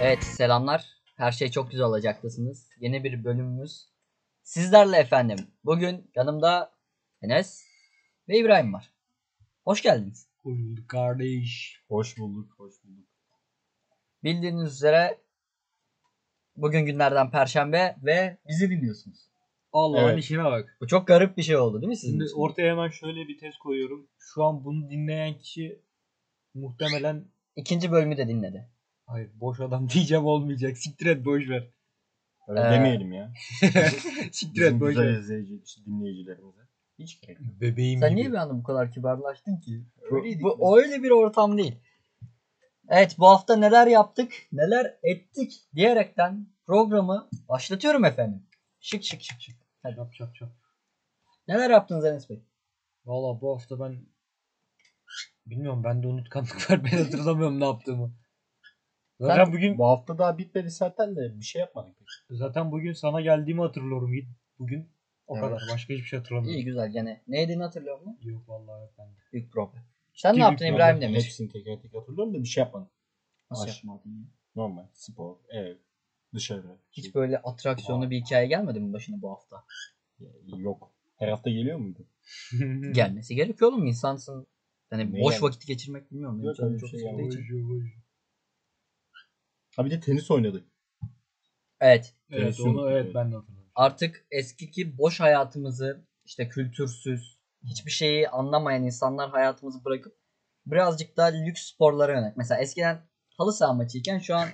Evet selamlar. Her şey çok güzel olacaktasınız. Yeni bir bölümümüz. Sizlerle efendim. Bugün yanımda Enes ve İbrahim var. Hoş geldiniz. Hoş bulduk kardeş. Hoş bulduk, hoş bulduk. Bildiğiniz üzere bugün günlerden perşembe ve bizi dinliyorsunuz. Allah'ın Evet. işine bak. Bu çok garip bir şey oldu değil mi sizin Şimdi için? ortaya hemen şöyle bir test koyuyorum. Şu an bunu dinleyen kişi muhtemelen İkinci bölümü de dinledi. hayır boş adam diyeceğim olmayacak. Siktir et boş ver. Öyle Ee, demeyelim ya. Siktir et şey- Bizim boş güzel ver. izleyici, işte dinleyicilerimize. Hiç gerek yok. Bebeğim Sen niye bir anda bu kadar kibarlaştın ki? Bu, Öyleydik bu- biz. öyle bir ortam değil. Evet bu hafta neler yaptık, neler ettik diyerekten programı başlatıyorum efendim. Şık şık şık şık. Hadi. Çap çap çap. Neler yaptınız Enes Bey? Valla bu hafta ben bilmiyorum bende unutkanlık var. Ben hatırlamıyorum ne yaptığımı. Zaten Sen- bugün Bu hafta daha bitmedi zaten de bir şey yapmadık. pek. zaten bugün sana geldiğimi hatırlıyorum Yiğit. Bugün o Evet. kadar. Başka hiçbir şey hatırlamıyorum. İyi güzel gene. Neydi hatırlıyor musun? Yok vallahi yok bende. Büyük problem. Sen ne Büyük yaptın problem. İbrahim demiş. Hepsini teker teker hatırlıyorum da bir şey yapmadım. Nasıl Aş- yapmadın ya? Normal. Spor, ev, dışarı. şey, Hiç böyle atraksiyonlu bir hikaye gelmedi mi başına bu hafta? Yok. Her hafta geliyor muydu? Hmm. Gelmesi gerekiyor oğlum insansın. Yani Ne boş yani? vakit geçirmek bilmiyorum. Benim Yok, canım öyle bir çok şey sıkıldığı yapmadım. için. Ha bir de tenis oynadık. Evet. Evet Televizyon onu evet izliyoruz. ben de hatırlıyorum. artık eskiki boş hayatımızı işte kültürsüz hiçbir şeyi anlamayan insanlar hayatımızı bırakıp birazcık daha lüks sporlara yönelik. Mesela eskiden halı saha maçıyken şu an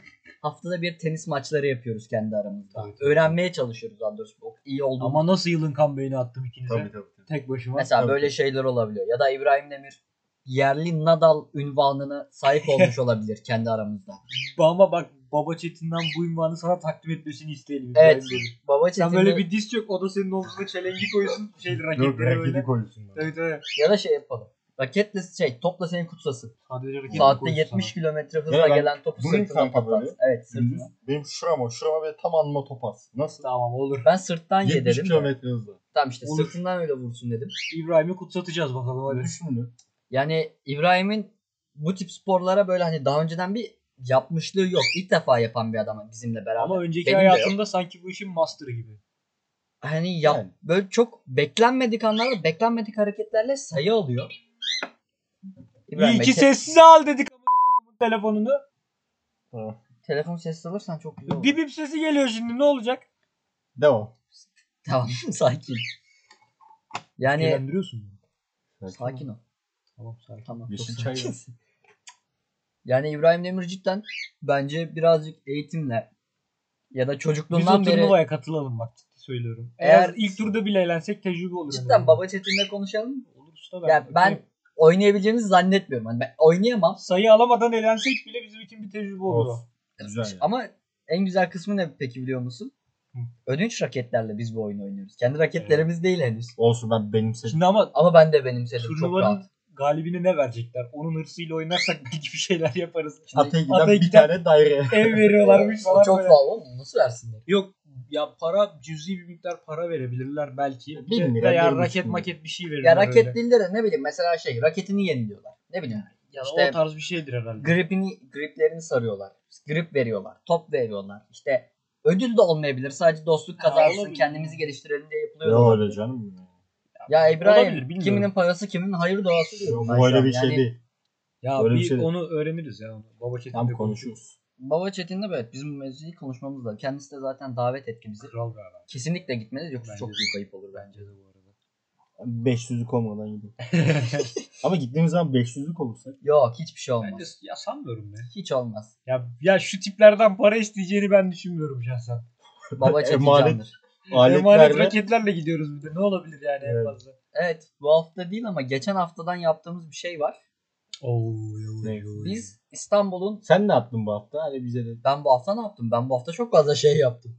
haftada bir tenis maçları yapıyoruz kendi aramızda. Evet. Öğrenmeye çalışıyoruz daha doğrusu bu iyi olduğunu. Ama nasıl yılın kan beyni attım ikinize. Tabii tabii. tabii. Tek başıma. Mesela Tabii. böyle şeyler olabiliyor. Ya da İbrahim Demir yerli Nadal ünvanına sahip olmuş olabilir kendi aramızda. Ama bak Baba Çetin'den bu ünvanı sana takdim etmesini isteyelim. Evet. İbrahim Bey. Baba Sen Çetin'i- böyle bir diz çök o da senin omzuna çelengi koysun. Şeyleri Yok raketleri raketi böyle. koyuyorsun. bana. Evet evet. ya da şey yapalım. Raketle şey topla senin kutsası. Sadece raketi Saatte koysun 70 sana. kilometre hızla Ya ben gelen topu bunun sırtına kanka böyle. patlat. Evet sırtına. Gündüz Benim şurama, şurama ve tam anma topaz. Nasıl? Tamam olur. Ben sırttan ye 70 dedim. de. kilometre hızla. Tamam işte Olur. sırtından öyle vursun dedim. İbrahim'i kutsatacağız bakalım hadi. Düşünün. Yani İbrahim'in bu tip sporlara böyle hani daha önceden bir yapmışlığı yok. İlk defa yapan bir adam bizimle beraber. Ama önceki Benim de hayatımda sanki bu işin master'ı gibi. hani yap Yani. böyle çok beklenmedik anlarda beklenmedik hareketlerle sayı alıyor. İbrahim İyi Bey, ki te- sessize al dedik amına kodumun telefonunu. Ha, telefon sesi alırsan çok güzel olur. Bir bip sesi geliyor şimdi ne olacak? Devam. Tamam sakin. Yani Eğlendiriyorsun beni. sakin ol. Tamam sakin. Tamam. Yeşil çok çay sakin. ver. Yani İbrahim Demir cidden bence birazcık eğitimle ya da Biz çocukluğundan o beri turnuvaya katılalım bak ciddi söylüyorum. Eğer- Eğer, ilk turda bile eğlensek tecrübe olur. Cidden baba chatinle konuşalım. olursa Ya ben oynayabileceğimizi zannetmiyorum. Hani ben oynayamam sayı alamadan eğlensek bile bizim için bir tecrübe olur Olsun. o. Güzel ya. ama en güzel kısmı ne peki biliyor musun? Hı. Ödünç raketlerle biz bu oyunu oynuyoruz. Kendi raketlerimiz değil henüz. Olsun ben benimsedim. Şimdi ama Ama ben de benimsedim çok rahat. turnuvanın galibini ne verecekler? Onun hırsıyla oynarsak belki bir şeyler yaparız. Hatay'a giden Hatay'a bir giden- tane daire. Ev veriyorlarmış O falan çok böyle. fazla oğlum. Nasıl versinler? Yok ya para cüzi bir miktar para verebilirler belki. Bin lira, Veya bin üç raket bin. maket bir şey verirler. Ya raket öyle. değil de ne bileyim mesela şey raketini yeniliyorlar. Ne bileyim Ya işte- o tarz bir şeydir herhalde. gripini griplerini sarıyorlar. Grip veriyorlar. Top veriyorlar. İşte ödül de olmayabilir. Sadece dostluk Ha, kazansın. olabilir. kendimizi geliştirelim diye yapılıyor. Yok da öyle olabilir. canım. Ya İbrahim Olabilir, bilmiyorum. kiminin parası kiminin hayır duası diyor. Yok, ben şu bu öyle an. bir şey Yani değil. Ya Öyle bir bir şey- onu öğreniriz ya. Baba Çetin'le Tam konuşuruz. konuşuyoruz. Baba Çetin'le evet bizim bu mevzuyu konuşmamız lazım. Kendisi de zaten davet etti bizi. Kral galiba. Kesinlikle gitmeliyiz yoksa Bence çok de. büyük ayıp olur bence. Bence de bu arada. 500'lük olmadan gidelim. Ama gittiğimiz zaman 500'lük olursak. Yok hiçbir şey olmaz. ben de ya sanmıyorum be. Hiç olmaz. Ya, ya şu tiplerden para isteyeceğini ben düşünmüyorum şahsen. Baba Çetin Emanet. candır. Emanet Aletlerle raketlerle gidiyoruz bir de. Ne olabilir yani en Evet. fazla? Evet bu hafta değil ama geçen haftadan yaptığımız bir şey var. Oo, yavuş, Ne? yavuş. Biz İstanbul'un sen ne yaptın bu hafta? Hani bize de. ben bu hafta ne yaptım? Ben bu hafta çok fazla şey yaptım.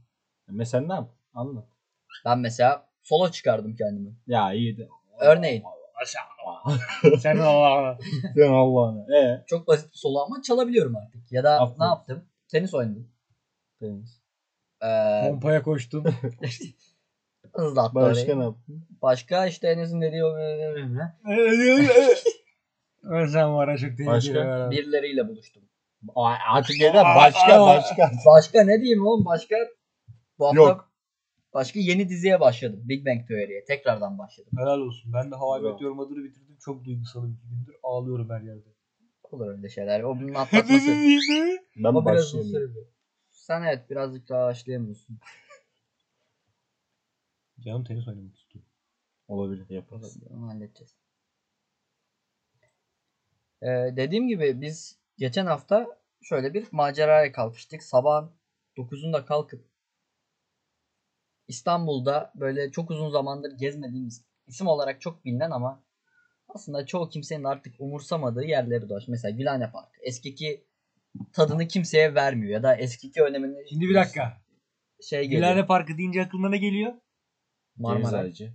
Mesela ne yaptın? Anlat. Ben mesela solo çıkardım kendimi. Ya iyiydi. Örneğin. Aşağı. Sen Allah. Sen Allah'ına. Ee. Çok basit bir solo ama çalabiliyorum artık. Ya da Aferin. ne yaptım? Tenis oynadım. Deniz. Ee, Pompaya koştun. hızlı attı Başka Başka, ne yaptın? Başka işte Enes'in dediği o- Sen var ya çok tehlikeli. Başka? ya. birileriyle buluştum. Aa, Artık yeter Aa, başka aa. başka. Başka ne diyeyim oğlum başka bu hafta Yok. başka yeni diziye başladım. Big Bang Theory'ye tekrardan başladım. Helal olsun. Ben de Hawaii Bravo. Meteor Mother'ı bitirdim. Çok duygusalım iki gündür. Ağlıyorum her yerde. Olur öyle şeyler. O bunun atlatması. Ben o biraz uzun başlayayım. sürdü. Sen evet birazcık daha başlayamıyorsun. Canım tenis oynamak istiyor. Olabilir yaparız. Onu halledeceğiz. Ee, dediğim gibi biz geçen hafta şöyle bir maceraya kalkıştık. Sabahın 9'unda kalkıp İstanbul'da böyle çok uzun zamandır gezmediğimiz isim olarak çok bilinen ama aslında çoğu kimsenin artık umursamadığı yerleri dolaş. Mesela Gülhane Parkı. Eskiki tadını kimseye vermiyor ya da eskiki önemini Şimdi bir dakika. şey geliyor. Gülhane Parkı deyince aklına ne geliyor? Ceviz Marmara. ağacı.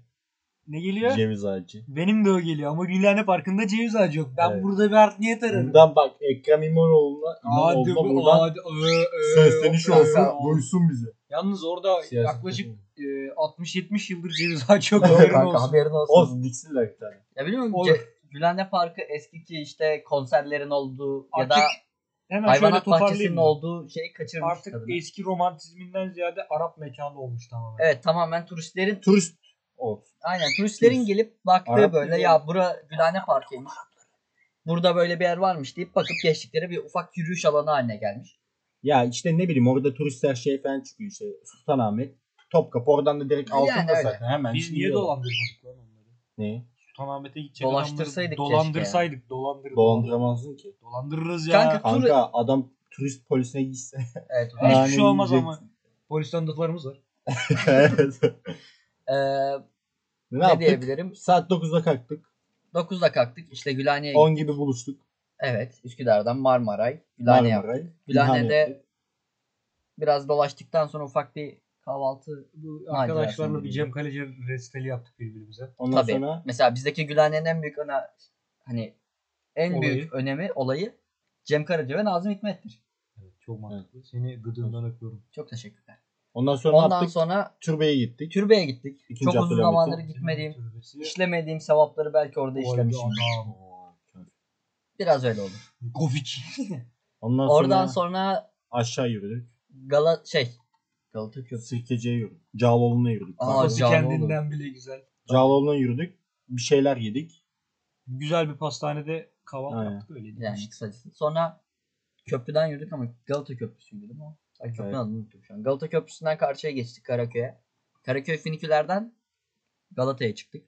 Ne geliyor? Ceviz ağacı. Benim de o geliyor ama Gülhane Parkı'nda ceviz ağacı yok. Ben Evet. burada bir art niyet ararım. Bundan bak Ekrem İmamoğlu'na Hadi, İmamoğlu'na buradan hadi, ö, ö, sesleniş ö, ö. olsun. Duysun bizi. e, Yalnız orada Siyaset yaklaşık kötü. e, 60-70 yıldır ceviz ağacı yok. Yok haberin Kanka olsun. haberin olsun. Olsun diksinler bir tane. Ya biliyor musun? Olur. Ce- Gülhane Parkı eskiki işte konserlerin olduğu ya Artık da Hemen şöyle hayvanat bahçesinin toparlayayım. mı? olduğu şeyi kaçırmış Artık tadını. eski romantizminden ziyade Arap mekanı olmuş tamamen. Evet tamamen turistlerin Turist olsun. aynen turistlerin Turist. gelip baktığı Arap böyle gibi. ya bura Gülhane Parkı'ymış. Burada böyle bir yer varmış deyip bakıp geçtikleri bir ufak yürüyüş alanı haline gelmiş. Ya işte ne bileyim orada turistler şey falan çıkıyor işte. Sultanahmet, Topkapı oradan da direkt Yani altında öyle. zaten hemen. Biz niye çiziyorlar. dolandırmadık lan onları? Ne? Sultanahmet'e gidecek Dolaştırsaydık adamları keşke dolandırsaydık. Dolandır, Dolandıramazdın ki. Dolandırırız ya. Kanka- Turu- Kanka adam turist polisine gitse. Evet. Hiçbir Nane şey olmaz yiyecek. ama. Polis tanıdıklarımız var. Evet. Ee, ne ne yaptık? diyebilirim? Saat 9'da kalktık. 9'da kalktık. işte Gülhane'ye 10 gibi buluştuk. Evet. Üsküdar'dan Marmaray. Gülhane yaptık. Marmaray. Gülhane'de Gülhane yaptık. Biraz dolaştıktan sonra ufak bir kahvaltı Bu Macerasını arkadaşlarla bir bilmiyorum. Cem Kalecer resteli yaptık birbirimize. Ondan Tabii. sonra Mesela bizdeki Gülhane'nin en büyük öne hani en Olayı. büyük önemi olayı Cem Karaca ve Nazım Hikmet'tir. Evet, çok mantıklı. Seni gıdığından öpüyorum. Çok teşekkürler. ondan sonra ne Ondan yaptık. sonra Türbeye gittik. türbeye gittik. İkinci Çok uzun Abdülhamit'in. zamandır gitmediğim, işlemediğim sevapları belki orada işlemişim. Biraz öyle oldu. Kofik. Ondan Oradan sonra, sonra aşağı yürüdük. Gala şey Galata Köprüsü. Sirkeci'ye yürüdük. Cağaloğlu'na yürüdük. Aa, Pardon. Kafası canlı kendinden bile güzel. Cağaloğlu'na yürüdük. Bir şeyler yedik. Güzel bir pastanede kahvaltı Aynen. yaptık öyle değil. Yani kısacası. Sonra köprüden yürüdük ama Galata Köprüsü'ydü değil mi? o? Ay köprünün Evet. adını unuttum şu an. Galata Köprüsü'nden karşıya geçtik Karaköy'e. Karaköy Finiküler'den Galata'ya çıktık.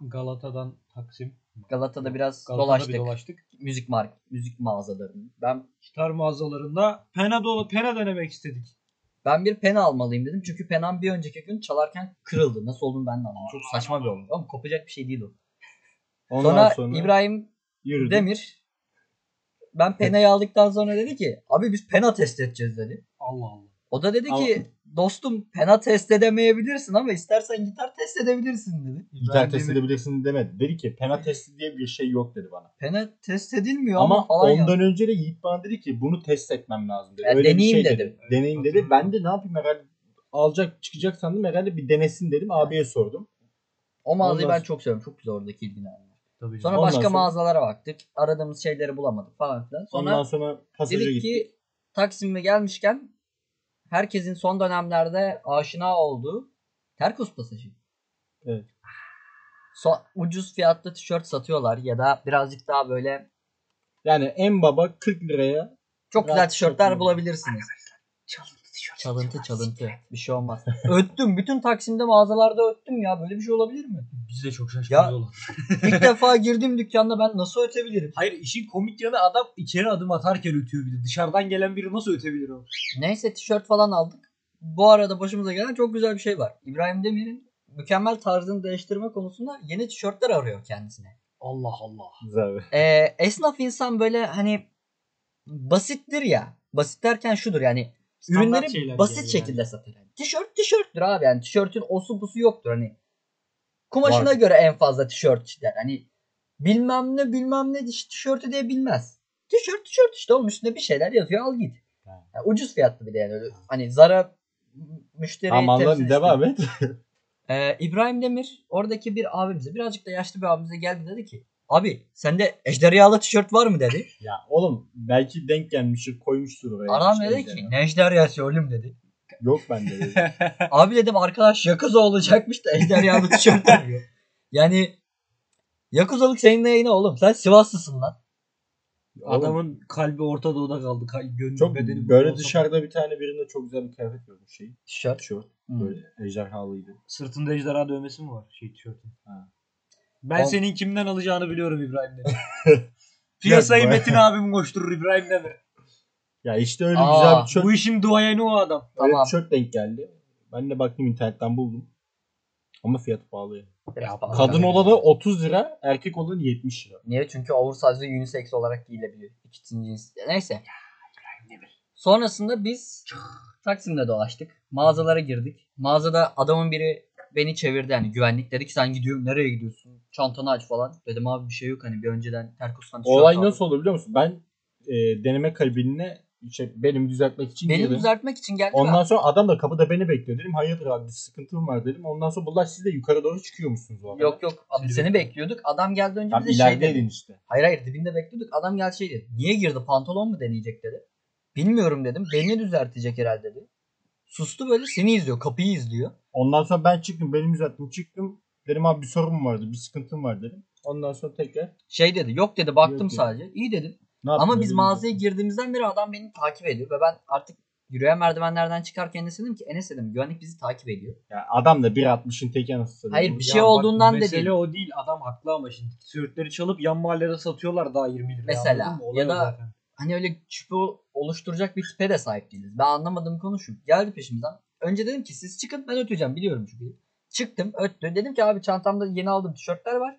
Galata'dan Taksim. Galata'da biraz Galata'da dolaştık. bir dolaştık. müzik mark müzik mağazalarını. Ben Gitar mağazalarında pena dolu pena denemek istedik. ben bir pena almalıyım dedim. Çünkü penam bir önceki gün çalarken kırıldı. Nasıl olduğunu ben de anlamadım. Çok saçma bir olay. Ama kopacak bir şey değil o. Ondan Sonra, sonra, İbrahim yürüdük. Demir ben penayı aldıktan sonra dedi ki abi biz pena test edeceğiz dedi. Allah Allah. O da dedi Ama- ki dostum pena test edemeyebilirsin ama istersen gitar test edebilirsin dedi. Gitar test Demir- edebilirsin demedi. Dedi ki pena testi diye bir şey yok dedi bana. Pena test edilmiyor ama, Ama falan yazdı. ondan önce de Yiğit bana dedi ki bunu test etmem lazım dedi. Ya Öyle deneyeyim bir şey dedi. dedim. Deneyim dedi. Ben Hatırlıyorum. de ne yapayım herhalde alacak çıkacak sandım herhalde bir denesin dedim. Abiye sordum. O mağazayı Ondan ben çok seviyorum. Çok güzel oradaki ilgini aldım. Sonra Tabii canım. Ondan başka sonra- mağazalara baktık. Aradığımız şeyleri bulamadık falan filan. Sonra Ondan sonra pasaja Dedik gittik. ki Taksim'e gelmişken herkesin son dönemlerde aşina olduğu Terkos pasajı. Evet. So- ucuz fiyatlı tişört satıyorlar ya da birazcık daha böyle Yani en baba 40 liraya çok Biraz güzel tişörtler çok- bulabilirsiniz. Çalıntı çalıntı. Bir şey olmaz. öttüm. Bütün Taksim'de mağazalarda öttüm ya. Böyle bir şey olabilir mi? Biz de çok Ya- şaşkınız oğlum. İlk defa girdiğim dükkanda ben nasıl ötebilirim? Hayır işin komik yanı adam içeri adım atarken ötüyor bir de. Dışarıdan gelen biri nasıl ötebilir o? Neyse tişört falan aldık. Bu arada başımıza gelen çok güzel bir şey var. İbrahim Demir'in mükemmel tarzını değiştirme konusunda yeni tişörtler arıyor kendisine. Allah Allah. güzel bir- Ee, esnaf insan böyle hani basittir ya. Basit derken şudur yani Standart ürünleri şeyler basit yani. şekilde satar. Yani tişört tişörttür abi yani tişörtün osu busu yoktur hani. Kumaşına Var. göre en fazla tişört işler. Hani bilmem ne bilmem ne diş- tişörtü diye bilmez. Tişört tişört işte oğlum üstüne bir şeyler yazıyor al git. Ha. Yani ucuz fiyatlı bir de yani. Öyle Hani Zara müşteri Tamam lan temsil devam et. ee, İbrahim Demir oradaki bir abimize birazcık da yaşlı bir abimize geldi dedi ki Abi sende ejderhalı tişört var mı dedi. Ya oğlum belki denk gelmiştir koymuştur oraya. Adam İşte dedi ki ejderha. ne ejderhası oğlum dedi. Yok bende. dedi. Abi dedim arkadaş Yakuza olacakmış da ejderhalı tişört diyor. Yani Yakuzalık senin neyine oğlum? Sen Sivaslısın lan. Oğlum, Adamın kalbi Orta Doğu'da kaldı. Kal- Gönlü çok bedeni böyle olsa- dışarıda bir tane birinde çok güzel bir kıyafet gördüm şey. Tişört. Tişört. Hmm. Böyle ejderhalıydı. Sırtında ejderha dövmesi mi var şey tişörtün? Ha. Ben Ol- senin kimden alacağını biliyorum İbrahim'den. Piyasayı Yok, Metin abim koşturur İbrahim Demir. Ya işte öyle Aa, güzel bir tişört. Bu işin duayeni o adam. Öyle Tamam. bir tişört denk geldi. Ben de baktım internetten buldum. Ama fiyatı pahalı. ya. Biraz Kadın pahalı. Kadın yani. olanı 30 lira, erkek olanı 70 lira. Niye? Çünkü oversize'lı unisex olarak giyilebiliyor. İkinci cins. Neyse. Sonrasında biz Taksim'de dolaştık. Mağazalara girdik. Mağazada adamın biri beni çevirdi yani güvenlik. Dedi ki sen gidiyorsun nereye gidiyorsun? Çantanı aç falan. Dedim abi bir şey yok hani bir önceden Terkos'tan tişört Olay aldım. nasıl olur biliyor musun? Ben e, deneme kalbine işte benim düzeltmek için Beni girdim. düzeltmek için geldi. Ondan sonra adam da kapıda beni bekliyor. Dedim hayırdır abi bir sıkıntım var dedim. Ondan sonra bunlar siz de yukarı doğru çıkıyormuşsunuz o arada. Yok yok abi Seni seni bekliyorum. bekliyorduk. Adam geldi önce Tam bize şey ilerideydin dedi. işte. Hayır hayır dibinde bekliyorduk. Adam geldi şey dedi. Niye girdi pantolon mu deneyecek dedi. Bilmiyorum dedim. Beni düzeltecek herhalde dedi. Sustu böyle seni izliyor. Kapıyı izliyor. Ondan sonra ben çıktım. Benim düzelttim çıktım. Dedim abi bir sorun mu vardı? Bir sıkıntım var dedim. Ondan sonra tekrar Şey dedi. Yok dedi baktım Yok dedi. sadece. İyi dedim. ne Ama yaptın?" biz dedim. mağazaya girdiğimizden beri adam beni takip ediyor. Ve ben artık yürüyen merdivenlerden çıkarken Enes'e dedim ki Enes dedim güvenlik bizi takip ediyor. Ya adam da 1.60'ın teki anasını satayım. Hayır, bir Ya şey bak, olduğundan da mesele değil. o değil. Adam haklı ama şimdi. Tişörtleri çalıp yan mahallede satıyorlar daha 20 liraya. Mesela. anladın mı? Ya Olay o da- zaten. Hani öyle şüphe oluşturacak bir tipe de sahip değiliz. Ben anlamadığım konu şu. Geldi peşimden. Önce dedim ki siz çıkın ben öteceğim biliyorum çünkü. Çıktım öttü. Dedim ki abi çantamda yeni aldığım tişörtler var.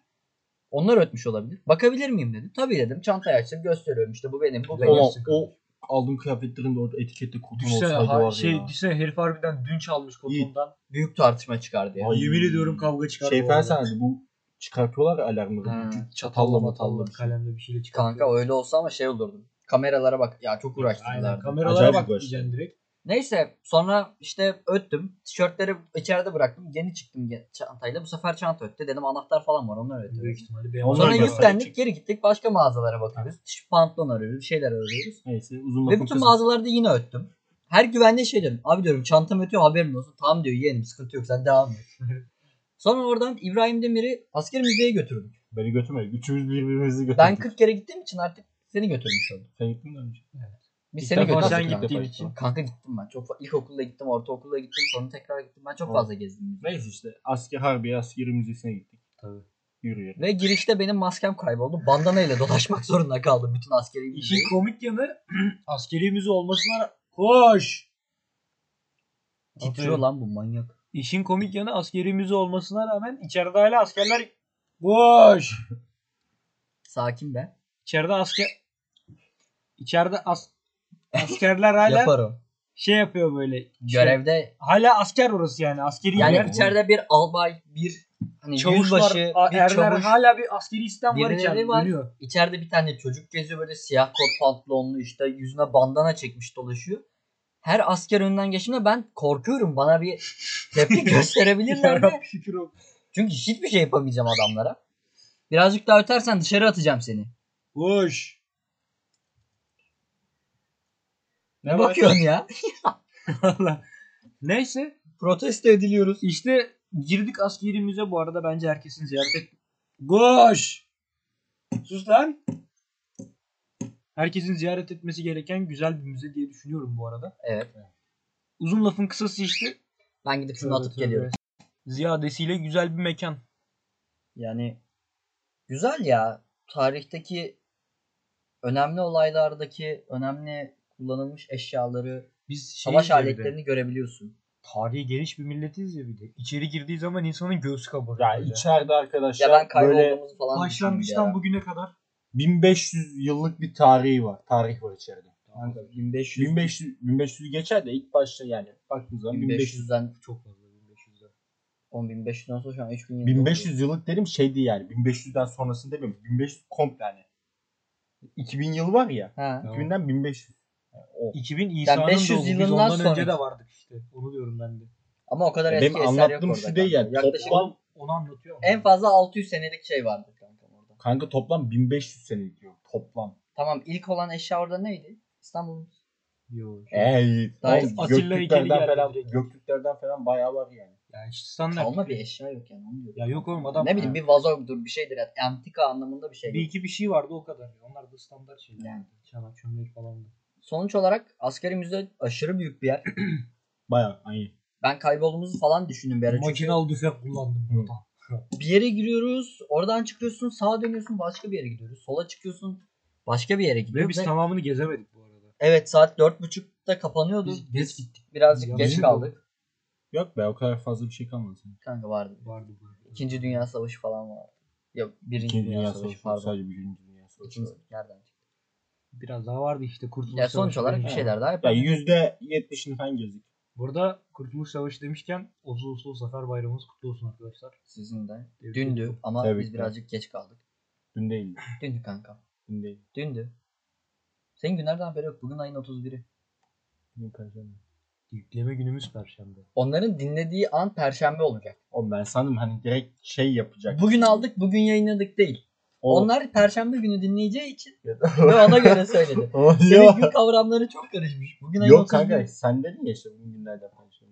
Onlar ötmüş olabilir. Bakabilir miyim dedi. Tabii dedim. Çantayı açtım gösteriyorum işte bu benim bu Ulan benim. Ama Gerçekten. o aldığım kıyafetlerin de orada etikette koton Düşsene, olsaydı ha, var şey, ya. düşsene herif harbiden dün çalmış kotondan. Büyük tartışma çıkardı ya. Ay, Yemin ediyorum kavga çıkar. bu Şey arada. falan sanırdı bu çıkartıyorlar ya alarmları. Ha, Küçük Çatalla çatalla matalla matalla. bir kalemle bir şeyle çıkar. Kanka öyle olsa ama şey olurdu. Kameralara bak. Ya çok Aynen uğraştırdılar. kameralara Acayip bak uğraştı. diyeceksin direkt. Neyse sonra işte öttüm. Tişörtleri içeride bıraktım. Yeni çıktım ge- çantayla. Bu sefer çanta öttü. Dedim anahtar falan var. Onlar öttü. Büyük ihtimalle. benim Onlar Sonra arabam gösterdik. yüklendik geri gittik başka mağazalara bakıyoruz. İşte pantolon arıyoruz bir şeyler arıyoruz. Neyse uzun Ve bütün lafın kısası. mağazalarda yine öttüm. Her güvenliğe şey dedim. Abi diyorum çantam ötüyor haberin olsun. Tamam diyor yeğenim sıkıntı yok sen devam et. Sonra oradan İbrahim Demir'i asker müzeye götürdük. Beni götürmedi. Üçümüz birbirimizi götürdük. Ben 40 kere gittiğim için artık seni götürmüş oldum. Sen gittin mi önce? Biz İlk seni defa götürdük. sen kanka. gittiğin Kanka. için. Kanka gittim ben. Çok fa- ilkokulda gittim, ortaokulda gittim, sonra tekrar gittim. Ben çok Oğlum. fazla gezdim. Neyse işte asker harbiye askeri müzesine gittik. Tabii. Yürüyerek. Ve girişte benim maskem kayboldu. Bandana ile dolaşmak zorunda kaldım bütün askeri müzeyi. İşin komik yanı askeri müze olmasına koş. Titriyor lan bu manyak. İşin komik yanı askeri müze olmasına rağmen içeride hala askerler koş. Sakin be. İçeride asker içeride as askerler hala Yaparım. şey yapıyor böyle. işte- Görevde Hala asker orası yani askeri yani Şey, yer. içeride bir albay, bir hani Çavuşlar, yüzbaşı, a- bir erler çavuş. hala bir askeri sistem var birileri içeride. var. dönüyor. İçeride bir tane çocuk geziyor böyle siyah kot pantolonlu işte yüzüne bandana çekmiş dolaşıyor. Her asker önünden geçtiğinde ben korkuyorum. Bana bir tepki gösterebilirler de. Yarabbim şükür o. Çünkü hiçbir şey yapamayacağım adamlara. Birazcık daha ötersen dışarı atacağım seni. Koş. Ne bakıyorsun ya? Valla. Neyse Protesto ediliyoruz. İşte girdik askeri müze bu arada bence herkesin ziyaret et. Goş! Sus lan! Herkesin ziyaret etmesi gereken güzel bir müze diye düşünüyorum bu arada. Evet. Uzun lafın kısası işte. Ben gidip şunu Tövbe atıp tövbe. geliyorum. Ziyadesiyle güzel bir mekan. Yani güzel ya. Tarihteki önemli olaylardaki önemli kullanılmış eşyaları Biz şey savaş izliyor bir de, aletlerini görebiliyorsun. Tarihi geniş bir milletiz ya bir de. İçeri girdiği zaman insanın göğsü kabarıyor. Ya böyle. içeride Ya arkadaşlar ben Şey böyle kaybolduğumuzu falan Başlangıçtan bugüne kadar. 1500 yıllık bir tarihi var. Tarih var içeride. Kanka, 1500 1500 1500 geçer de ilk başta yani baktığın zaman 1500 1500'den Çok fazla 1500'den. 10500 olsa şu an 3000 1500 yıllık dedim şeydi yani 1500'den sonrasını demiyorum. 1500 komple yani. 2000 yıl var ya. Ha. Tamam. 2000'den 1500. Yani o. 2000 İsa'nın 500 doğumu. Biz yılından ondan sonraki. önce de vardık işte. Onu diyorum ben de. Ama o kadar Ya eski benim eser yok anlattığım orada. şu değil kanka. yani. Yaklaşık Toplam Onu anlatıyor ama. en fazla 600 senelik şey vardır kanka orada. Kanka toplam 1500 senelik diyor. Toplam. Tamam ilk olan eşya orada neydi? İstanbul'un. Yok. E? Ey, Daha oğlum, Atilla heykeli Göktürklerden geldi falan, direkt. Göktürklerden falan bayağı var yani. Ya işte standart. Çalma bir eşya yok yani. Onu diyorum. Ya yok oğlum adam. ne bileyim bir vazodur bir şeydir. Yani antika anlamında bir şey. Bir iki bir şey vardı o kadar. ya. Onlar da standart şeyler. Yani. Çanak çömlek falan da. Sonuç olarak askeri müze aşırı büyük bir yer. Bayağı aynı. Ben kaybolumuzu falan düşündüm bir ara. Çünkü Makinalı tüfek kullandım Hı. burada. bir yere giriyoruz, oradan çıkıyorsun, sağa dönüyorsun, başka bir yere gidiyoruz. Sola çıkıyorsun, başka bir yere Ve gidiyoruz. biz Ve- tamamını gezemedik bu arada. Evet saat dört buçukta kapanıyordu. Biz geç gittik. Birazcık Ya geç bizim- kaldık. Yok be o kadar fazla bir şey kalmadı. sana. Kanka vardı. Vardı bu arada. İkinci Dünya Savaşı falan vardı. Yok birinci İkinci Dünya, Dünya Savaşı, Savaşı pardon. sadece birinci Dünya Savaşı. İkinci, nereden çıktı? Biraz daha vardı işte Kurtuluş Ya sonuç Savaşı olarak bir demişken. şeyler daha Ya yapalım. yüzde yetmişini falan gezdik. Burada Kurtuluş Savaşı demişken Oslo Oslo Zafer Bayramımız kutlu olsun arkadaşlar. Sizin de. Evet, Dündü evet. ama Tabii biz ki. birazcık geç kaldık. Dün değil. Dündü kanka. Dün değil. Dündü. Senin günlerden haberi yok. Bugün ayın 31'i. Dün perşembe. Yükleme günümüz Perşembe. Onların dinlediği an perşembe olacak. Oğlum ben sandım hani direkt şey yapacak. Bugün aldık, bugün yayınladık değil. Oğlum- Onlar perşembe günü dinleyeceği için ve ona göre söyledi. Oğlum Senin yok. gün kavramları çok karışmış. Bugün ayın Yok 31'i. kanka sen dedin ya işte bugün günlerden konuşalım.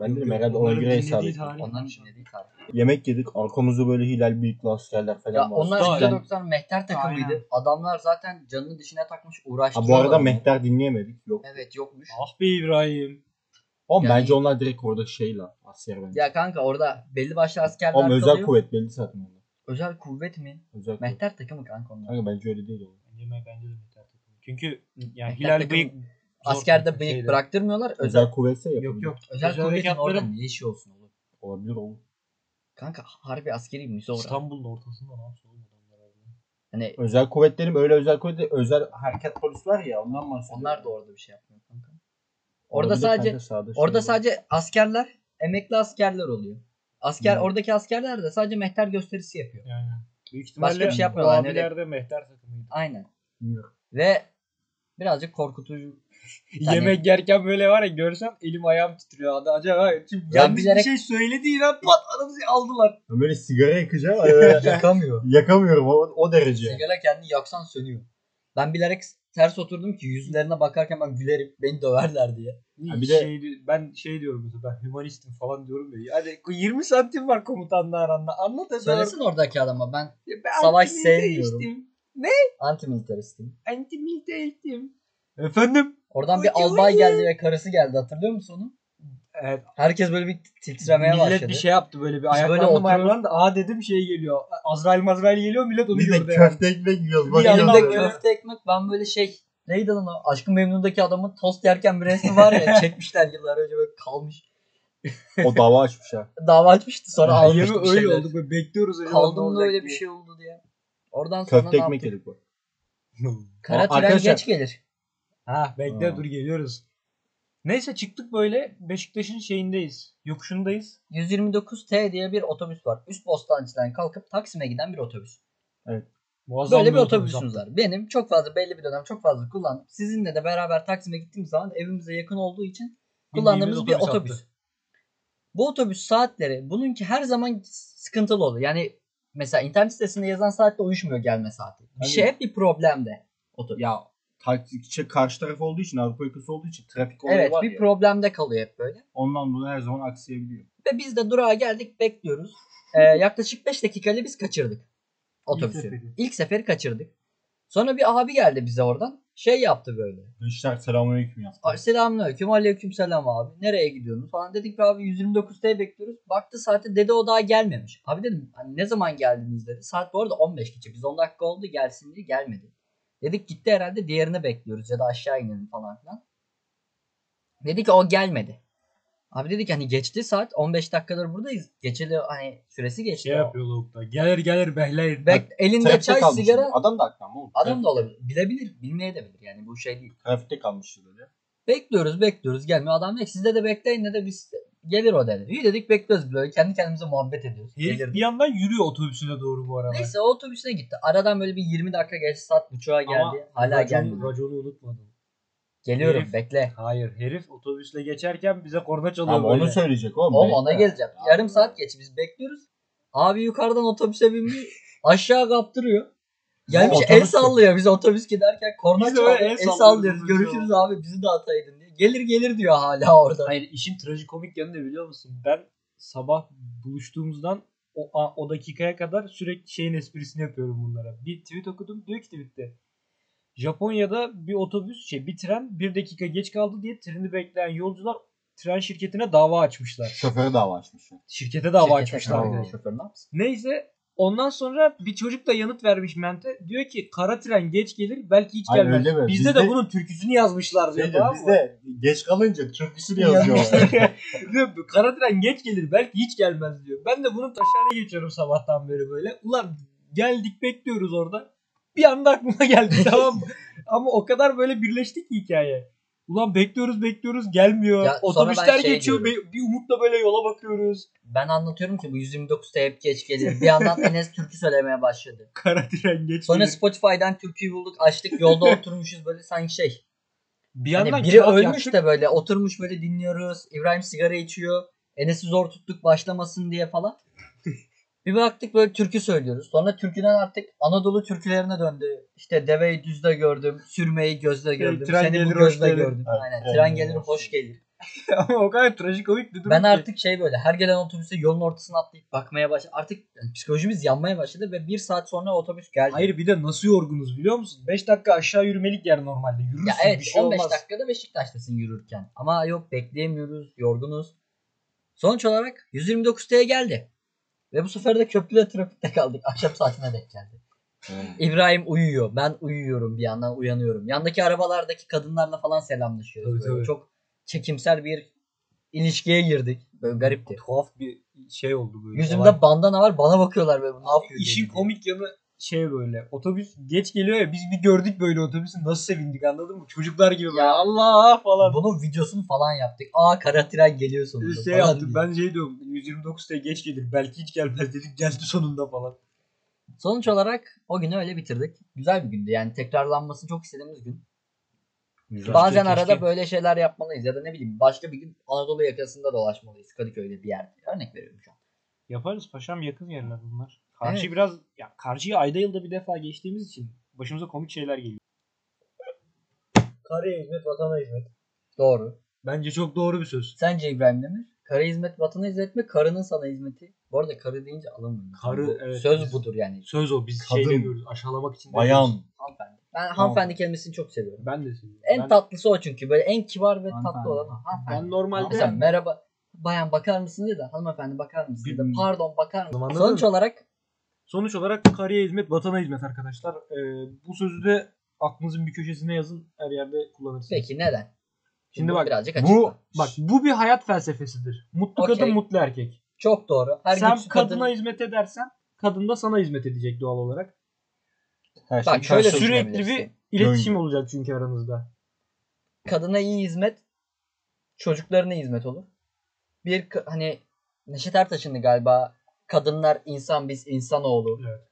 Ben Yok, dedim yok, herhalde ona onların göre dinlediği hesap ettim. tarih- Onların dinlediği tarih. Yemek yedik arkamızda böyle hilal büyüklü askerler falan Ya var. onlar Daha Zaten- yani. %90 mehter takımıydı. Aynen. Adamlar zaten canını dişine takmış Ha, uğraştılar. bu arada adamı. mehter dinleyemedik. Yok. Evet yokmuş. Ah be İbrahim. Oğlum Yani- bence onlar direkt orada şey la asker bence. Ya kanka orada belli başlı askerler Oğlum özel kalıyor. kuvvet belli zaten onlar. Özel kuvvet mi? Özel kuvvet. Mehter takımı kanka onlar. Kanka bence öyle değil oğlum. Bence ben bence de Mehter takımı. Çünkü yani Mehter Hilal takımı bıyık askerde zor- bıyık şeyde. bıraktırmıyorlar. Özel Özel kuvvetse yapabilir. Yok yok. özel, kuvvetin harekatları orada ne işi olsun oğlum? Olabilir oğlum. Kanka harbi askeri müze orası. İstanbul'un ortasında ne yapsın oğlum adamlar abi. Hani Özel kuvvetlerim öyle özel kuvvet değil, özel hareket polis var ya ondan bahsediyorum. onlar da orada bir şey yapmıyor kanka. Orada Olabilir sadece kanka, sağda şey orada var. sadece askerler, emekli askerler oluyor. Asker Hmm. Hı. oradaki askerler de sadece mehter gösterisi yapıyor. Yani. Büyük Başka ihtimalle bir şey yapmıyorlar, Hani- bu ne Abiler de Mehter takımıydı. Aynen. Bilmiyorum. Ve birazcık korkutucu. Yani- Yemek yerken böyle var ya görsem elim ayağım titriyor. Hadi acaba şimdi Ya yanlış bilerek- bir şey söyledi yine pat adamı aldılar. Ben böyle sigara yakacağım. öyle Yakamıyor. Yakamıyorum o, o derece. Sigara kendini yaksan sönüyor. Ben bilerek ters oturdum ki yüzlerine bakarken ben gülerim beni döverler diye. Ha, bir bir de- de ben şey diyorum mesela ben hümanistim falan diyorum ya. Yani 20 santim var komutanla aranda. Anlat hadi. Söylesin oradaki adama ben Ya Ben Savaş antimiliteristim. sevmiyorum. antimilitaristim. Antimiliteristim. Efendim? Oradan Uy, bir uy, albay uy. geldi ve karısı geldi hatırlıyor musun onu? Evet. Herkes böyle bir titremeye millet başladı. bir şey yaptı böyle bir Biz böyle ayaklandı oturuyoruz. ayaklandı. Aa dedim şey geliyor. Azrail mazrail geliyor millet onu Biz de gördü. hemen. köfte ekmek yiyoruz. Bir bakıyoruz. Elimde yandan böyle- köfte ekmek ben böyle şey neydi lan o Aşkın Memnun'daki adamın tost yerken bir resmi var ya çekmişler yıllar önce böyle kalmış. O dava açmış ha. Dava açmıştı sonra Sonra almıştı yeme bir öyle şeyler. oldu böyle bekliyoruz. acaba ne Kaldım da olacak öyle bir diye. şey oldu diye. Oradan sonra Köfte ne ekmek yaptık? yedik bu. Kara Aa, tren arkadaşlar- geç gelir. ha bekle Ha. dur geliyoruz. Neyse çıktık böyle Beşiktaş'ın şeyindeyiz. Yokuşundayız. 129T diye bir otobüs var. Üst Bostancı'dan kalkıp Taksim'e giden bir otobüs. Muazzam Böyle bir otobüs otobüsümüz var. Benim çok fazla belli bir dönem çok fazla kullandım. Sizinle de beraber Taksim'e gittiğim zaman evimize yakın olduğu için kullandığımız bir Bindiğimiz otobüs. otobüs Bu otobüs saatleri bununki her zaman sıkıntılı oluyor. Yani mesela internet sitesinde yazan saatle uyuşmuyor gelme saati. Bir Tabii. şey hep bir problemde. Otobüs. Ya taktikçi karşı taraf olduğu için Avrupa yakası olduğu için trafik olayı evet var bir ya. problemde kalıyor hep böyle. Ondan dolayı her zaman aksayabiliyor. Ve biz de durağa geldik bekliyoruz. Ee, yaklaşık 5 dakikayla biz kaçırdık otobüsü. İlk seferi. seferi. kaçırdık. Sonra bir abi geldi bize oradan. Şey yaptı böyle. Gençler selamünaleyküm ya. "A- Selamünaleyküm, aleyküm selam abi. Nereye gidiyorsunuz falan. Dedik ki abi 129T bekliyoruz. Baktı saate dedi o daha gelmemiş. Abi dedim hani ne zaman geldiniz dedi. Saat bu arada 15 geçe. Biz 10 dakika oldu gelsin diye gelmedi. Dedik gitti herhalde diğerini bekliyoruz ya da aşağı inelim falan filan. Dedi ki o gelmedi. Abi dedik hani geçti saat 15 dakikadır buradayız. Geçeli hani süresi geçti. Şey yapıyor lavukta. Gelir gelir behleyin. Bek, elinde Trafikte çay kalmış. sigara Adam da aklan oğlum. adam da olabilir. Bilebilir bilmeye de bilir yani bu şey değil. Trafikte kalmıştı dedi. Bekliyoruz bekliyoruz gelmiyor. Adam dedi ki, sizde de bekleyin ne de biz gelir o dedi. İyi dedik bekliyoruz böyle kendi kendimize muhabbet ediyoruz. Herif Gelir. bir yandan yürüyor otobüsüne doğru bu arada. Neyse o otobüsüne gitti. Aradan böyle bir 20 dakika geçti saat buçuğa geldi. Ama hala raconu- gelmiyor. Raconu unutmadım. Geliyorum herif- bekle. Hayır herif otobüsle geçerken bize korna çalıyor Ama böyle. onu söyleyecek oğlum. Oğlum ona Bekle. geleceğim. Yarım saat geç biz bekliyoruz. Abi yukarıdan otobüse binmiş. aşağı kaptırıyor. Gelmiş Otobüs el mü? sallıyor. Biz otobüs giderken korna Biz de böyle çalıyor. El, el sallıyoruz, sallıyoruz. konuşuyoruz. Görüşürüz abi bizi de ataydın diye. Gelir gelir diyor hala orada. Hayır işin trajikomik yanı ne biliyor musun? Ben sabah buluştuğumuzdan o, a- o dakikaya kadar sürekli şeyin esprisini yapıyorum bunlara. Bir tweet okudum diyor ki tweette. Japonya'da bir otobüs şey bir tren bir dakika geç kaldı diye treni bekleyen yolcular tren şirketine dava açmışlar. Şoförü dava açmış. ya. Şirkete dava Şirkete açmışlar. dava. bir de. Şoför ne yapsın? Neyse ondan sonra bir çocuk da yanıt vermiş mente. Diyor ki kara tren geç gelir belki hiç Hayır, gelmez. öyle mi? Bizde, de Bizde- bunun türküsünü yazmışlar. diyor, Şey diyor, tamam mı? bizde geç kalınca türküsünü yazıyor. Diyor, "Bu Kara tren geç gelir belki hiç gelmez diyor. Ben de bunun taşağına geçiyorum sabahtan beri böyle. Ulan geldik bekliyoruz orada. Bir anda aklıma geldi tamam mı? Ama o kadar böyle birleşti ki hikaye. Ulan bekliyoruz bekliyoruz gelmiyor. Ya sonra ben Otobüsler şey geçiyor bir, bir umutla böyle yola bakıyoruz. Ben anlatıyorum ki bu 129'da hep geç gelir. Bir yandan Enes türkü söylemeye başladı. Kara tren geç Sonra gelir. Spotify'dan türküyü bulduk açtık yolda oturmuşuz böyle sanki şey. Bir Hani yandan biri kağıt ölmüş yaktık. de böyle oturmuş böyle dinliyoruz. İbrahim sigara içiyor. Enes'i zor tuttuk başlamasın diye falan. bir baktık böyle türkü söylüyoruz. Sonra türküden artık Anadolu türkülerine döndü. İşte deveyi düzde gördüm, sürmeyi gözde gördüm, Şey, tren seni gelir, bu hoş gözde gelir. gördüm. Evet, Aynen, evet. tren gelir, hoş gelir. Ama o kadar trajikomik bir durum Ben ki. artık şey böyle her gelen otobüse yolun ortasına atlayıp bakmaya baş artık yani psikolojimiz yanmaya başladı ve bir saat sonra otobüs geldi. Hayır bir de nasıl yorgunuz biliyor musun? 5 dakika aşağı yürümelik yer normalde. Yürürsün ya evet bir şey 15 olmaz. dakikada Beşiktaş'tasın yürürken. Ama yok bekleyemiyoruz, yorgunuz. Sonuç olarak 129 T'ye geldi. Ve bu sefer de köprüde trafikte kaldık. Akşam saatine denk geldi. İbrahim uyuyor. Ben uyuyorum bir yandan uyanıyorum. Yandaki arabalardaki kadınlarla falan selamlaşıyoruz. Tabii, böyle. tabii. Çok çekimsel bir ilişkiye girdik. Böyle garipti. Tuhaf bir şey oldu böyle. Yüzümde bandana var. Bana bakıyorlar böyle. Ne yapıyor? İşin dedi diye. komik yanı şey böyle. Otobüs geç geliyor ya biz bir gördük böyle otobüsü nasıl sevindik anladın mı? Çocuklar gibi böyle Ya. Allah falan. Bunun videosunu falan yaptık. Aa kara tren geliyor sonunda. şey falan diye. yaptım ben şey diyorum 129 de geç gelir belki hiç gelmez dedik geldi sonunda falan. Sonuç olarak o günü öyle bitirdik. Güzel bir gündü. Yani tekrarlanması çok istediğimiz gün. Güzel. Bazen keşke. arada böyle şeyler yapmalıyız ya da ne bileyim başka bir gün Anadolu yakasında dolaşmalıyız. Kadıköy'de bir yerde. Örnek veriyorum şu an. Yaparız paşam yakın yerler bunlar. Karşı Evet. biraz ya karşıyı ayda yılda bir defa geçtiğimiz için başımıza komik şeyler geliyor. Karıya hizmet vatana hizmet. Doğru. Bence çok doğru bir söz. Sence İbrahim Demir? Kara hizmet vatana hizmet mi? Karının sana hizmeti. Bu arada karı deyince alamıyorum. Karı, Bu evet. Söz budur yani. Söz o biz Kadın, şey demiyoruz aşağılamak için demiyoruz. Bayan. Hanımefendi. Ben hanımefendi kelimesini çok seviyorum. Ben de seviyorum. En Ben- tatlısı o çünkü. Böyle en kibar ve Hanımefendi. tatlı olan o. Hanımefendi. Ben normalde Mesela merhaba bayan bakar mısın dedi. Hanımefendi bakar mısın dedi. Bilmiyorum. Pardon bakar Anladım, mısın? anladın Sonuç mı? olarak sonuç olarak karıya hizmet, vatana hizmet arkadaşlar. Ee, bu sözü de aklınızın bir köşesine yazın. Her yerde kullanırsınız. peki neden? Şimdi bunu bak, birazcık Bu açıkla. Bak bu bir hayat felsefesidir. Mutlu Okey. kadın mutlu erkek. Çok doğru. Her Sen güçlü kadına kadın- hizmet edersen kadın da sana hizmet edecek doğal olarak. Her Bak, şöyle karşılıklı. sürü- Sürekli bir düşünebilirsin. iletişim Döngü. olacak çünkü aranızda. kadına iyi hizmet çocuklarına hizmet olur. Bir ka- hani Neşet Ertaş'ın galiba kadınlar insan biz insanoğlu. Evet.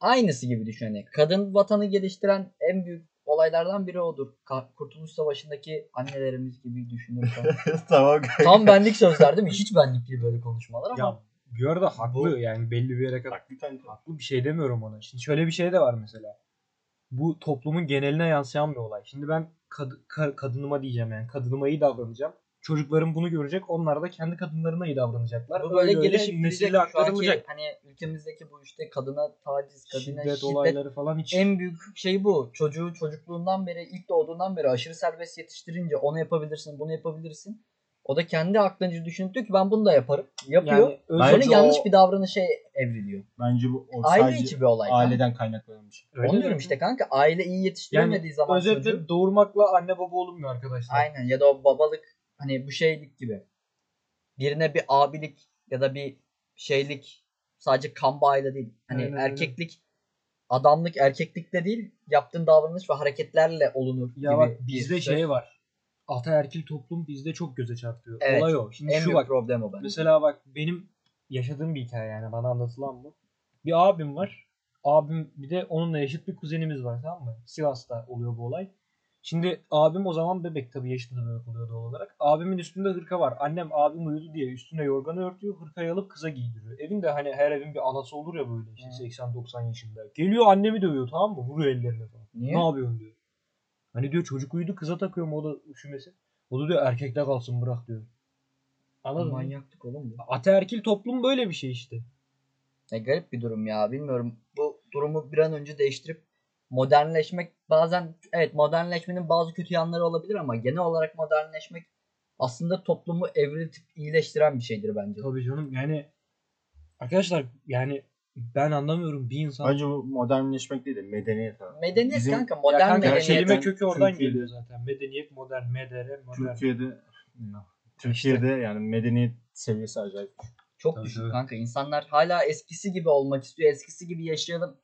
Aynısı gibi düşün. hani. kadın vatanı geliştiren en büyük olaylardan biri odur. Ka- Kurtuluş Savaşı'ndaki annelerimiz gibi düşünürsen. tamam. Tam benlik sözler değil mi? Hiç benlik değil böyle konuşmalar ama. Ya bir arada haklı Bu- yani belli bir yere kadar. Bak bir tane Haklı bir şey demiyorum ona. Şimdi şöyle bir şey de var mesela. Bu toplumun geneline yansıyan bir olay. Şimdi ben kad- ka- kadınıma diyeceğim yani. Kadınıma iyi davranacağım. Çocuklarım bunu görecek. Onlar da kendi kadınlarına iyi davranacaklar. Bu böyle Öyle öyle gelişip nesille gidecek şu anki aktarılacak. hani ülkemizdeki bu işte kadına taciz, kadına Şiddet, şiddet, olayları falan hiç en büyük şey bu. Çocuğu çocukluğundan beri ilk doğduğundan beri aşırı serbest yetiştirince onu yapabilirsin, bunu yapabilirsin. O da kendi aklınca düşünüp diyor ki ben bunu da yaparım. Yapıyor. yani Böyle Bence özgür- o- yanlış bir davranışa evriliyor. Bence bu o Aile sadece içi bir olay. aileden kaynaklanmış. Öyle Onu diyorum mi? işte kanka aile iyi yetiştiremediği zaman Özetle çocuğu. doğurmakla anne baba olunmuyor arkadaşlar. Aynen ya da o babalık hani bu şeylik gibi. Birine bir abilik ya da bir şeylik sadece kan bağıyla değil. Hani Aynen öyle. erkeklik adamlık erkeklikle değil yaptığın davranış ve hareketlerle olunur Ya gibi. bak bir bizde söz. şey var. Ataerkil toplum bizde çok göze çarpıyor. Evet. Olay o. Şimdi en şu büyük bak. problem o bence. Mesela bak benim yaşadığım bir hikaye yani bana anlatılan bu. Bir abim var. Abim bir de onunla yaşıt bir kuzenimiz var tamam mı? Sivas'ta oluyor bu olay. Şimdi abim o zaman bebek tabii yaşında da bebek oluyor doğal olarak. Abimin üstünde hırka var. Annem abim uyudu diye üstüne yorganı örtüyor. Hırkayı alıp kıza giydiriyor. Evinde hani her evin bir anası olur ya böyle işte Hı. 80-90 yaşında. Geliyor annemi dövüyor tamam mı? Vuruyor ellerine falan. Niye? Ne yapıyorsun diyor. Hani diyor çocuk uyudu kıza takıyorum o da üşümesin. O da diyor erkekte kalsın bırak diyor. Anladın mı? Manyaklık oğlum bu. Ataerkil toplum böyle bir şey işte. E, garip bir durum ya bilmiyorum. Bu durumu bir an önce değiştirip modernleşmek bazen evet modernleşmenin bazı kötü yanları olabilir ama genel olarak modernleşmek aslında toplumu evriltip iyileştiren bir şeydir bence. Tabii canım yani arkadaşlar yani ben anlamıyorum bir insan Bence bu modernleşmek değil de medeniyet abi. Medeniyet Bizim- kanka Ya modern kanka, medeniyet. kelime medeniyetten kökü oradan Türkiye'de- geliyor zaten. Medeniyet, modern, medere, modern. Türkiye'de Türkiye'de yani medeniyet seviyesi acayip. Çok Tabii, düşük tabii. kanka. İnsanlar hala eskisi gibi olmak istiyor. Eskisi gibi yaşayalım.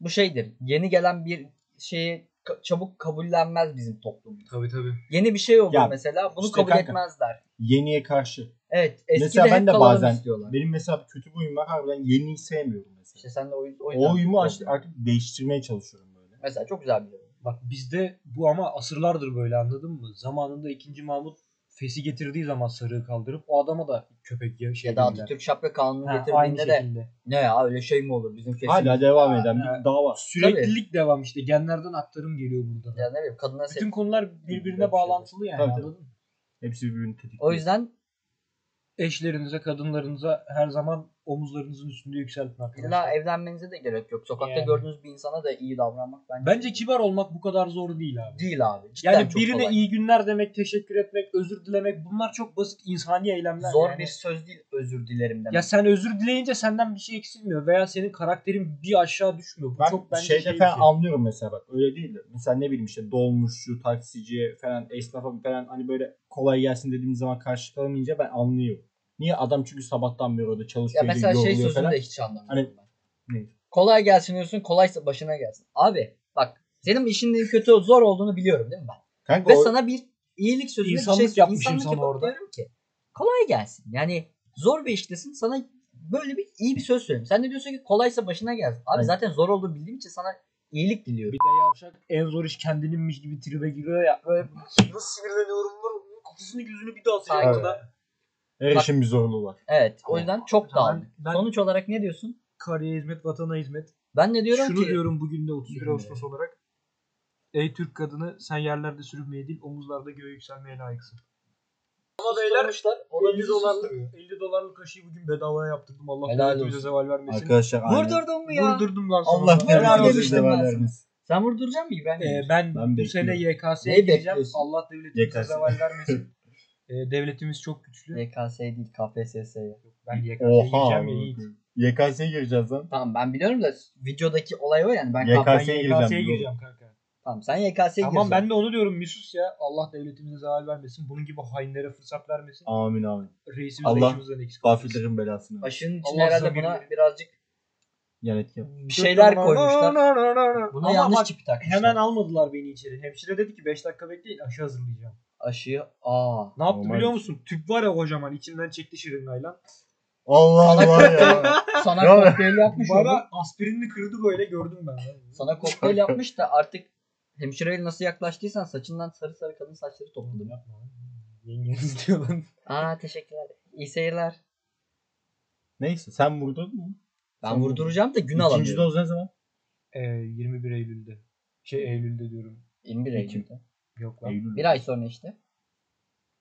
Bu şeydir. Yeni gelen bir şeyi ka- çabuk kabullenmez bizim toplumumuz. Tabii tabii. Yeni bir şey olur Ya, mesela. Bunu işte kabul kanka. etmezler. Yeniye karşı. Evet. Eski mesela de ben de bazen istiyorlar. benim mesela kötü bir huyum var harbiden yeniyi sevmiyorum mesela. İşte sen de o, o yüzden- o huyumu aç- artık değiştirmeye çalışıyorum böyle. Mesela çok güzel bir yorum. Bak bizde bu ama asırlardır böyle anladın mı? Zamanında 2. Mahmut Fes'i getirdiği zaman sarığı kaldırıp o adama da köpek ya şey ya da dediler. Atatürk şapka kanunu Ha, aynı getirdiğinde de şekilde. ne ya öyle şey mi olur bizim kesin. Hala devam eden evet. bir dava. Süreklilik devam işte. Genlerden aktarım geliyor burada. da. Ya ne bileyim kadına sev- Bütün konular birbirine Tabii, bağlantılı yani tabii. anladın mı? Hepsi birbirini tetikliyor. O yüzden Eşlerinize, kadınlarınıza her zaman omuzlarınızın üstünde yükseltin illa arkadaşlar. evlenmenize de gerek yok. Sokakta Yani. gördüğünüz bir insana da iyi davranmak bence. Bence kibar olmak bu kadar zor değil abi. değil abi. Cidden Yani çok birine kolay. iyi günler demek, teşekkür etmek, özür dilemek bunlar çok basit insani eylemler. Zor yani. bir söz değil özür dilerim demek. Ya sen özür dileyince senden bir şey eksilmiyor veya senin karakterin bir aşağı düşmüyor. Bu Ben çok bence şeyde şey bir falan şey. anlıyorum mesela bak öyle değil de mesela ne bileyim işte dolmuşçu, taksici falan esnafa falan hani böyle kolay gelsin dediğim zaman karşı kalamayınca ben anlıyorum. Niye adam çünkü sabahtan beri orada Ya çalışıyor, mesela şey yoruluyor sözünü falan. de hiç anlamıyorum Hani- ben. Ne? Kolay gelsin diyorsun kolaysa başına gelsin. Abi bak senin işinin kötü zor olduğunu biliyorum değil mi ben? Kanka Ve o- sana bir iyilik sözünü İnsanlık bir şey yapmışım insanlık sana yapıp orada. diyorum ki kolay gelsin. Yani zor bir iştesin sana böyle bir iyi bir söz söyleyeyim. Sen de diyorsun ki kolaysa başına gelsin. Abi Aynen. zaten zor olduğunu bildiğim için sana iyilik diliyorum. Bir de yavşak en zor iş kendininmiş gibi tribe giriyor ya. Böyle nasıl sinirleniyorum bunun kokusunu yüzünü bir daha Aynen. sıcak da. her Bak- işin bir zorluğu var. Evet o Tamam. yüzden çok Tamam, dağıldık. ben- Sonuç olarak ne diyorsun? Karıya hizmet, vatana hizmet. Ben de diyorum Şunu ki diyorum bugün de 31 Bilmiyorum. Ağustos olarak. Ey Türk kadını sen yerlerde sürünmeye değil omuzlarda göğe yükselmeye layıksın. Ama beyler o da bizi 50 dolarlık, susturuyor. 50 dolarlık kaşıyı bugün bedavaya yaptırdım. Allah Helal belanı olsun. zeval vermesin. Arkadaşlar aynen. vurdurdun mu ya? Vurdurdum lan Allah sonunda. Helal helal olsun olsun dedim ben devam sana. vermesin. Sen vurduracak mısın? Ben, Ee, ben, Ben bu sene YKS'ye Neyi gireceğim. bekliyorsun? Allah devletimize YKS. zeval vermesin. Ee, devletimiz çok güçlü. YKS değil KPSS. ya. Ben YKS'ye Oha. gireceğim ya Yiğit. YKS'ye gireceğiz lan. Tamam ben biliyorum da videodaki olay o yani. Ben YKS Ben KPSS. YKS'ye YKS'ye gireceğim, gireceğim kanka. Tamam sen YKS'ye Tamam giriyorsun. ben de onu diyorum Misus ya. Allah devletimize zeval vermesin. Bunun gibi hainlere fırsat vermesin. Amin amin. Reisimiz Allah- başımızdan eksik olmasın. Gafillerin belasını. Aşının içine Allah herhalde sana buna bir- birazcık Yan etki. bir şeyler koymuşlar. Buna Ama yanlış bak, çipi takmışlar. hemen almadılar beni içeri. Hemşire dedi ki 5 dakika bekleyin aşı hazırlayacağım. Aşıyı aa. Ne yaptı Normal biliyor bir musun? Tüp var ya kocaman içinden çekti şırıngayla. Allah Allah ya. Sana Ya. kokteyl yapmış oğlum. Bana aspirinini kırdı böyle gördüm ben. Sana kokteyl yapmış da artık hemşireye nasıl yaklaştıysan saçından sarı sarı kadın saçları topladım. Yengeniz diyor lan. Aa teşekkürler. İyi seyirler. Neyse sen vurdun mu? Ben Sen vurduracağım da gün İkinci alamıyorum. doz ne zaman? Ee, 21 Eylül'de. Şey Eylül'de diyorum. 21 Eylül'de. Yok lan. Eylül. Bir ay sonra işte.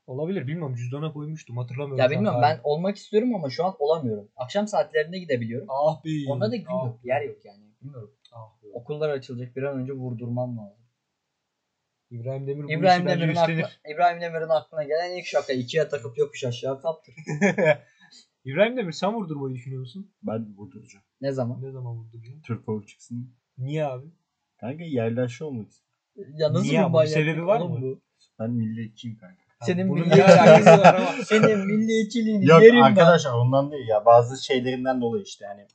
Olabilir bilmiyorum cüzdana koymuştum hatırlamıyorum. Ya şu an bilmiyorum ben tarihi. olmak istiyorum ama şu an olamıyorum. Akşam saatlerinde gidebiliyorum. Ah be. Onda da gün ah, yok. Yer yok yani. Bilmiyorum. Ah be. Okullar açılacak. Bir an önce vurdurmam lazım. İbrahim Demir bu İbrahim işten Demir'in yükselir. aklına, İbrahim Demir'in aklına gelen ilk şaka. ikiye takıp yokuş aşağı kaptır. İbrahim Demir sen vurdurmayı düşünüyor musun? Ben vurduracağım. Ne zaman? Ne zaman vurduracaksın? Türk Power çıksın. Niye abi? Kanka yerleşe olmak istiyorum. Ya nasıl Niye bir ama? Bir manyaklık sebebi var oğlum mı? bu? Ben milliyetçiyim kanka. Senin bunun milli- bir alakası var ama. Senin milliyetçiliğini Yok yerim arkadaşlar ondan değil ya. Bazı şeylerinden dolayı işte yani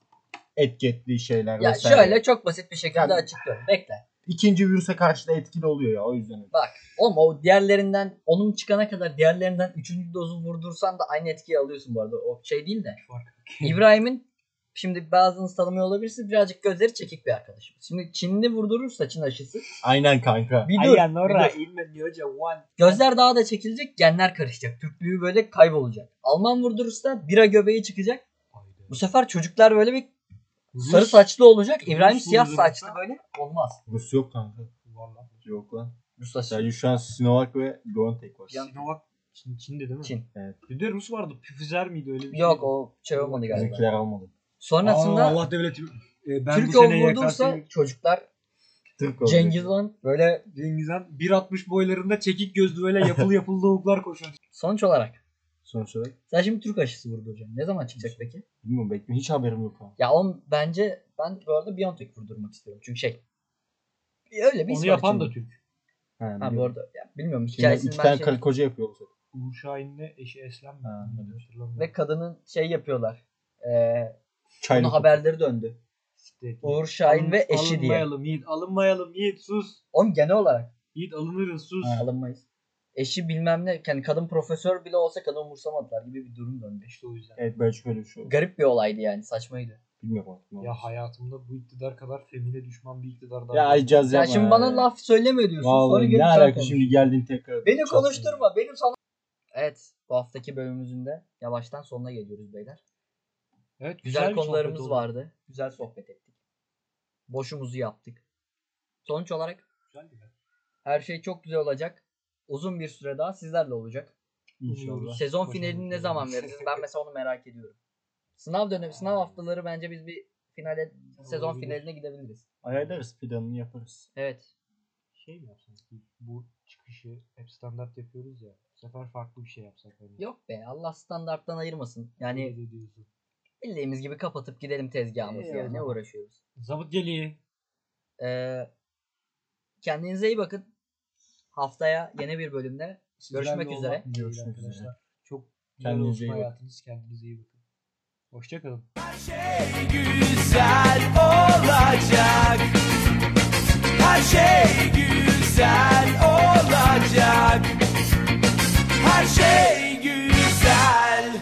etki ettiği şeyler ben. Ya vesaire. şöyle çok basit bir şekilde Yani- açıklıyorum. Bekle. İkinci virüse karşı da etkili oluyor ya o yüzden. Oğlum o diğerlerinden onun çıkana kadar diğerlerinden 3. dozu vurdursan da aynı etkiyi alıyorsun bu arada. O şey değil de. Fark. İbrahim'in Şimdi bazınız tanımıyor olabilirsiniz. Birazcık gözleri çekik bir arkadaşımız. Şimdi Çinli vurdurursa Çin aşısı. Aynen kanka. Bir dur. Ayan bir ora dur. ilmen yoca one. Gözler daha da çekilecek. Genler karışacak. Türklüğü böyle kaybolacak. Alman vurdurursa bira göbeği çıkacak. Bu sefer çocuklar böyle bir sarı saçlı olacak. İbrahim Rus siyah vurdurursa- saçlı böyle. Olmaz. Rus yok kanka. Valla. Yok lan. Rus aşısı. Sadece şu an Sinovac ve Biontech var. Yan- Sinovac Çin, Çin'de değil mi? Çin. Bir de Rus vardı. Pfizer miydi öyle bir Yok şeydi. o şey olmadı galiba. Bizimkiler almadı. Sonrasında Aa, Allah devleti. Ee, ben Türk bu sene vurdurursa YKS'yi çocuklar Türk oldu. Cengiz Han böyle Cengiz Han 1.60 boylarında çekik gözlü böyle yapılı yapılı lavuklar koşuyor. sonuç olarak. Sonuç olarak. Sen şimdi Türk aşısı vurduracaksın. Ne zaman çıkacak peki? Bilmiyorum bekliyorum. Hiç haberim yok abi. Ya on bence ben bu arada Biontech vurdurmak istiyorum. Çünkü şey öyle bir his Onu var yapan içinde. da Türk. Ha, Ha biliyorum. bu arada ya, bilmiyorum Şimdi hikayesini iki ben tane şey... karı koca yapıyor bu sefer. Uğur Şahin'le eşi Eslem mi? Ha, ve Bilmiyorum, hatırlamıyorum. kadının şey yapıyorlar. Ee, Çaylı. bunun haberleri döndü. Siteki. Uğur Şahin Alın- ve eşi diye. Alınmayalım Yiğit. Alınmayalım Yiğit sus. Oğlum genel olarak Yiğit alınırız sus. Ha. alınmayız. Eşi bilmem ne yani kadın profesör bile olsa kadın umursamadılar gibi bir durum döndü. İşte o yüzden. Evet belki öyle bir şey oldu. Garip bir olaydı yani saçmaydı. Bilmiyorum artık. ne oldu. Ya hayatımda bu iktidar kadar femine düşman bir iktidar daha. Ya görmedim. aycaz Sen yapma. şimdi ya. bana laf söyleme diyorsun. Sonra Vallahi gelip ne sen alaka konuş. şimdi geldin tekrar. Beni Çatsın. konuşturma. Benim sana... Evet. Bu haftaki bölümümüzün de yavaştan sonuna geliyoruz beyler. Evet, Güzel, bir sohbet konularımız oldu. vardı. Güzel sohbet ettik. Boşumuzu yaptık. Sonuç olarak Güzeldi be. her şey çok güzel olacak. Uzun bir süre daha sizlerle olacak. İnşallah. Umuyoruz. Sezon Boşumuzu finalini ne yapıyoruz. zaman veririz? Ben mesela onu merak ediyorum. Sınav dönemi, sınav haftaları bence biz bir finale, sezon Olabilir. finaline gidebiliriz. Ayarlarız planını yaparız. Evet. Şey mi yapsak? Bu- Bu çıkışı hep standart yapıyoruz ya. Bu sefer farklı bir şey yapsak. Hani. Yok be Allah standarttan ayırmasın. Ne Yani de diyorsun? bildiğimiz gibi kapatıp gidelim tezgahımızı. İyi o ya. Ne zaman. uğraşıyoruz? Zabıt geliyor. Ee, kendinize iyi bakın. Haftaya yeni bir bölümde Sizlerle Görüşmek olmak üzere. dileğiyle Görüşmek arkadaşlar. üzere. Çok güzel Kendinize olsun iyi bakın. hayatınız. Kendinize iyi bakın. Hoşçakalın. Her şey güzel şey şey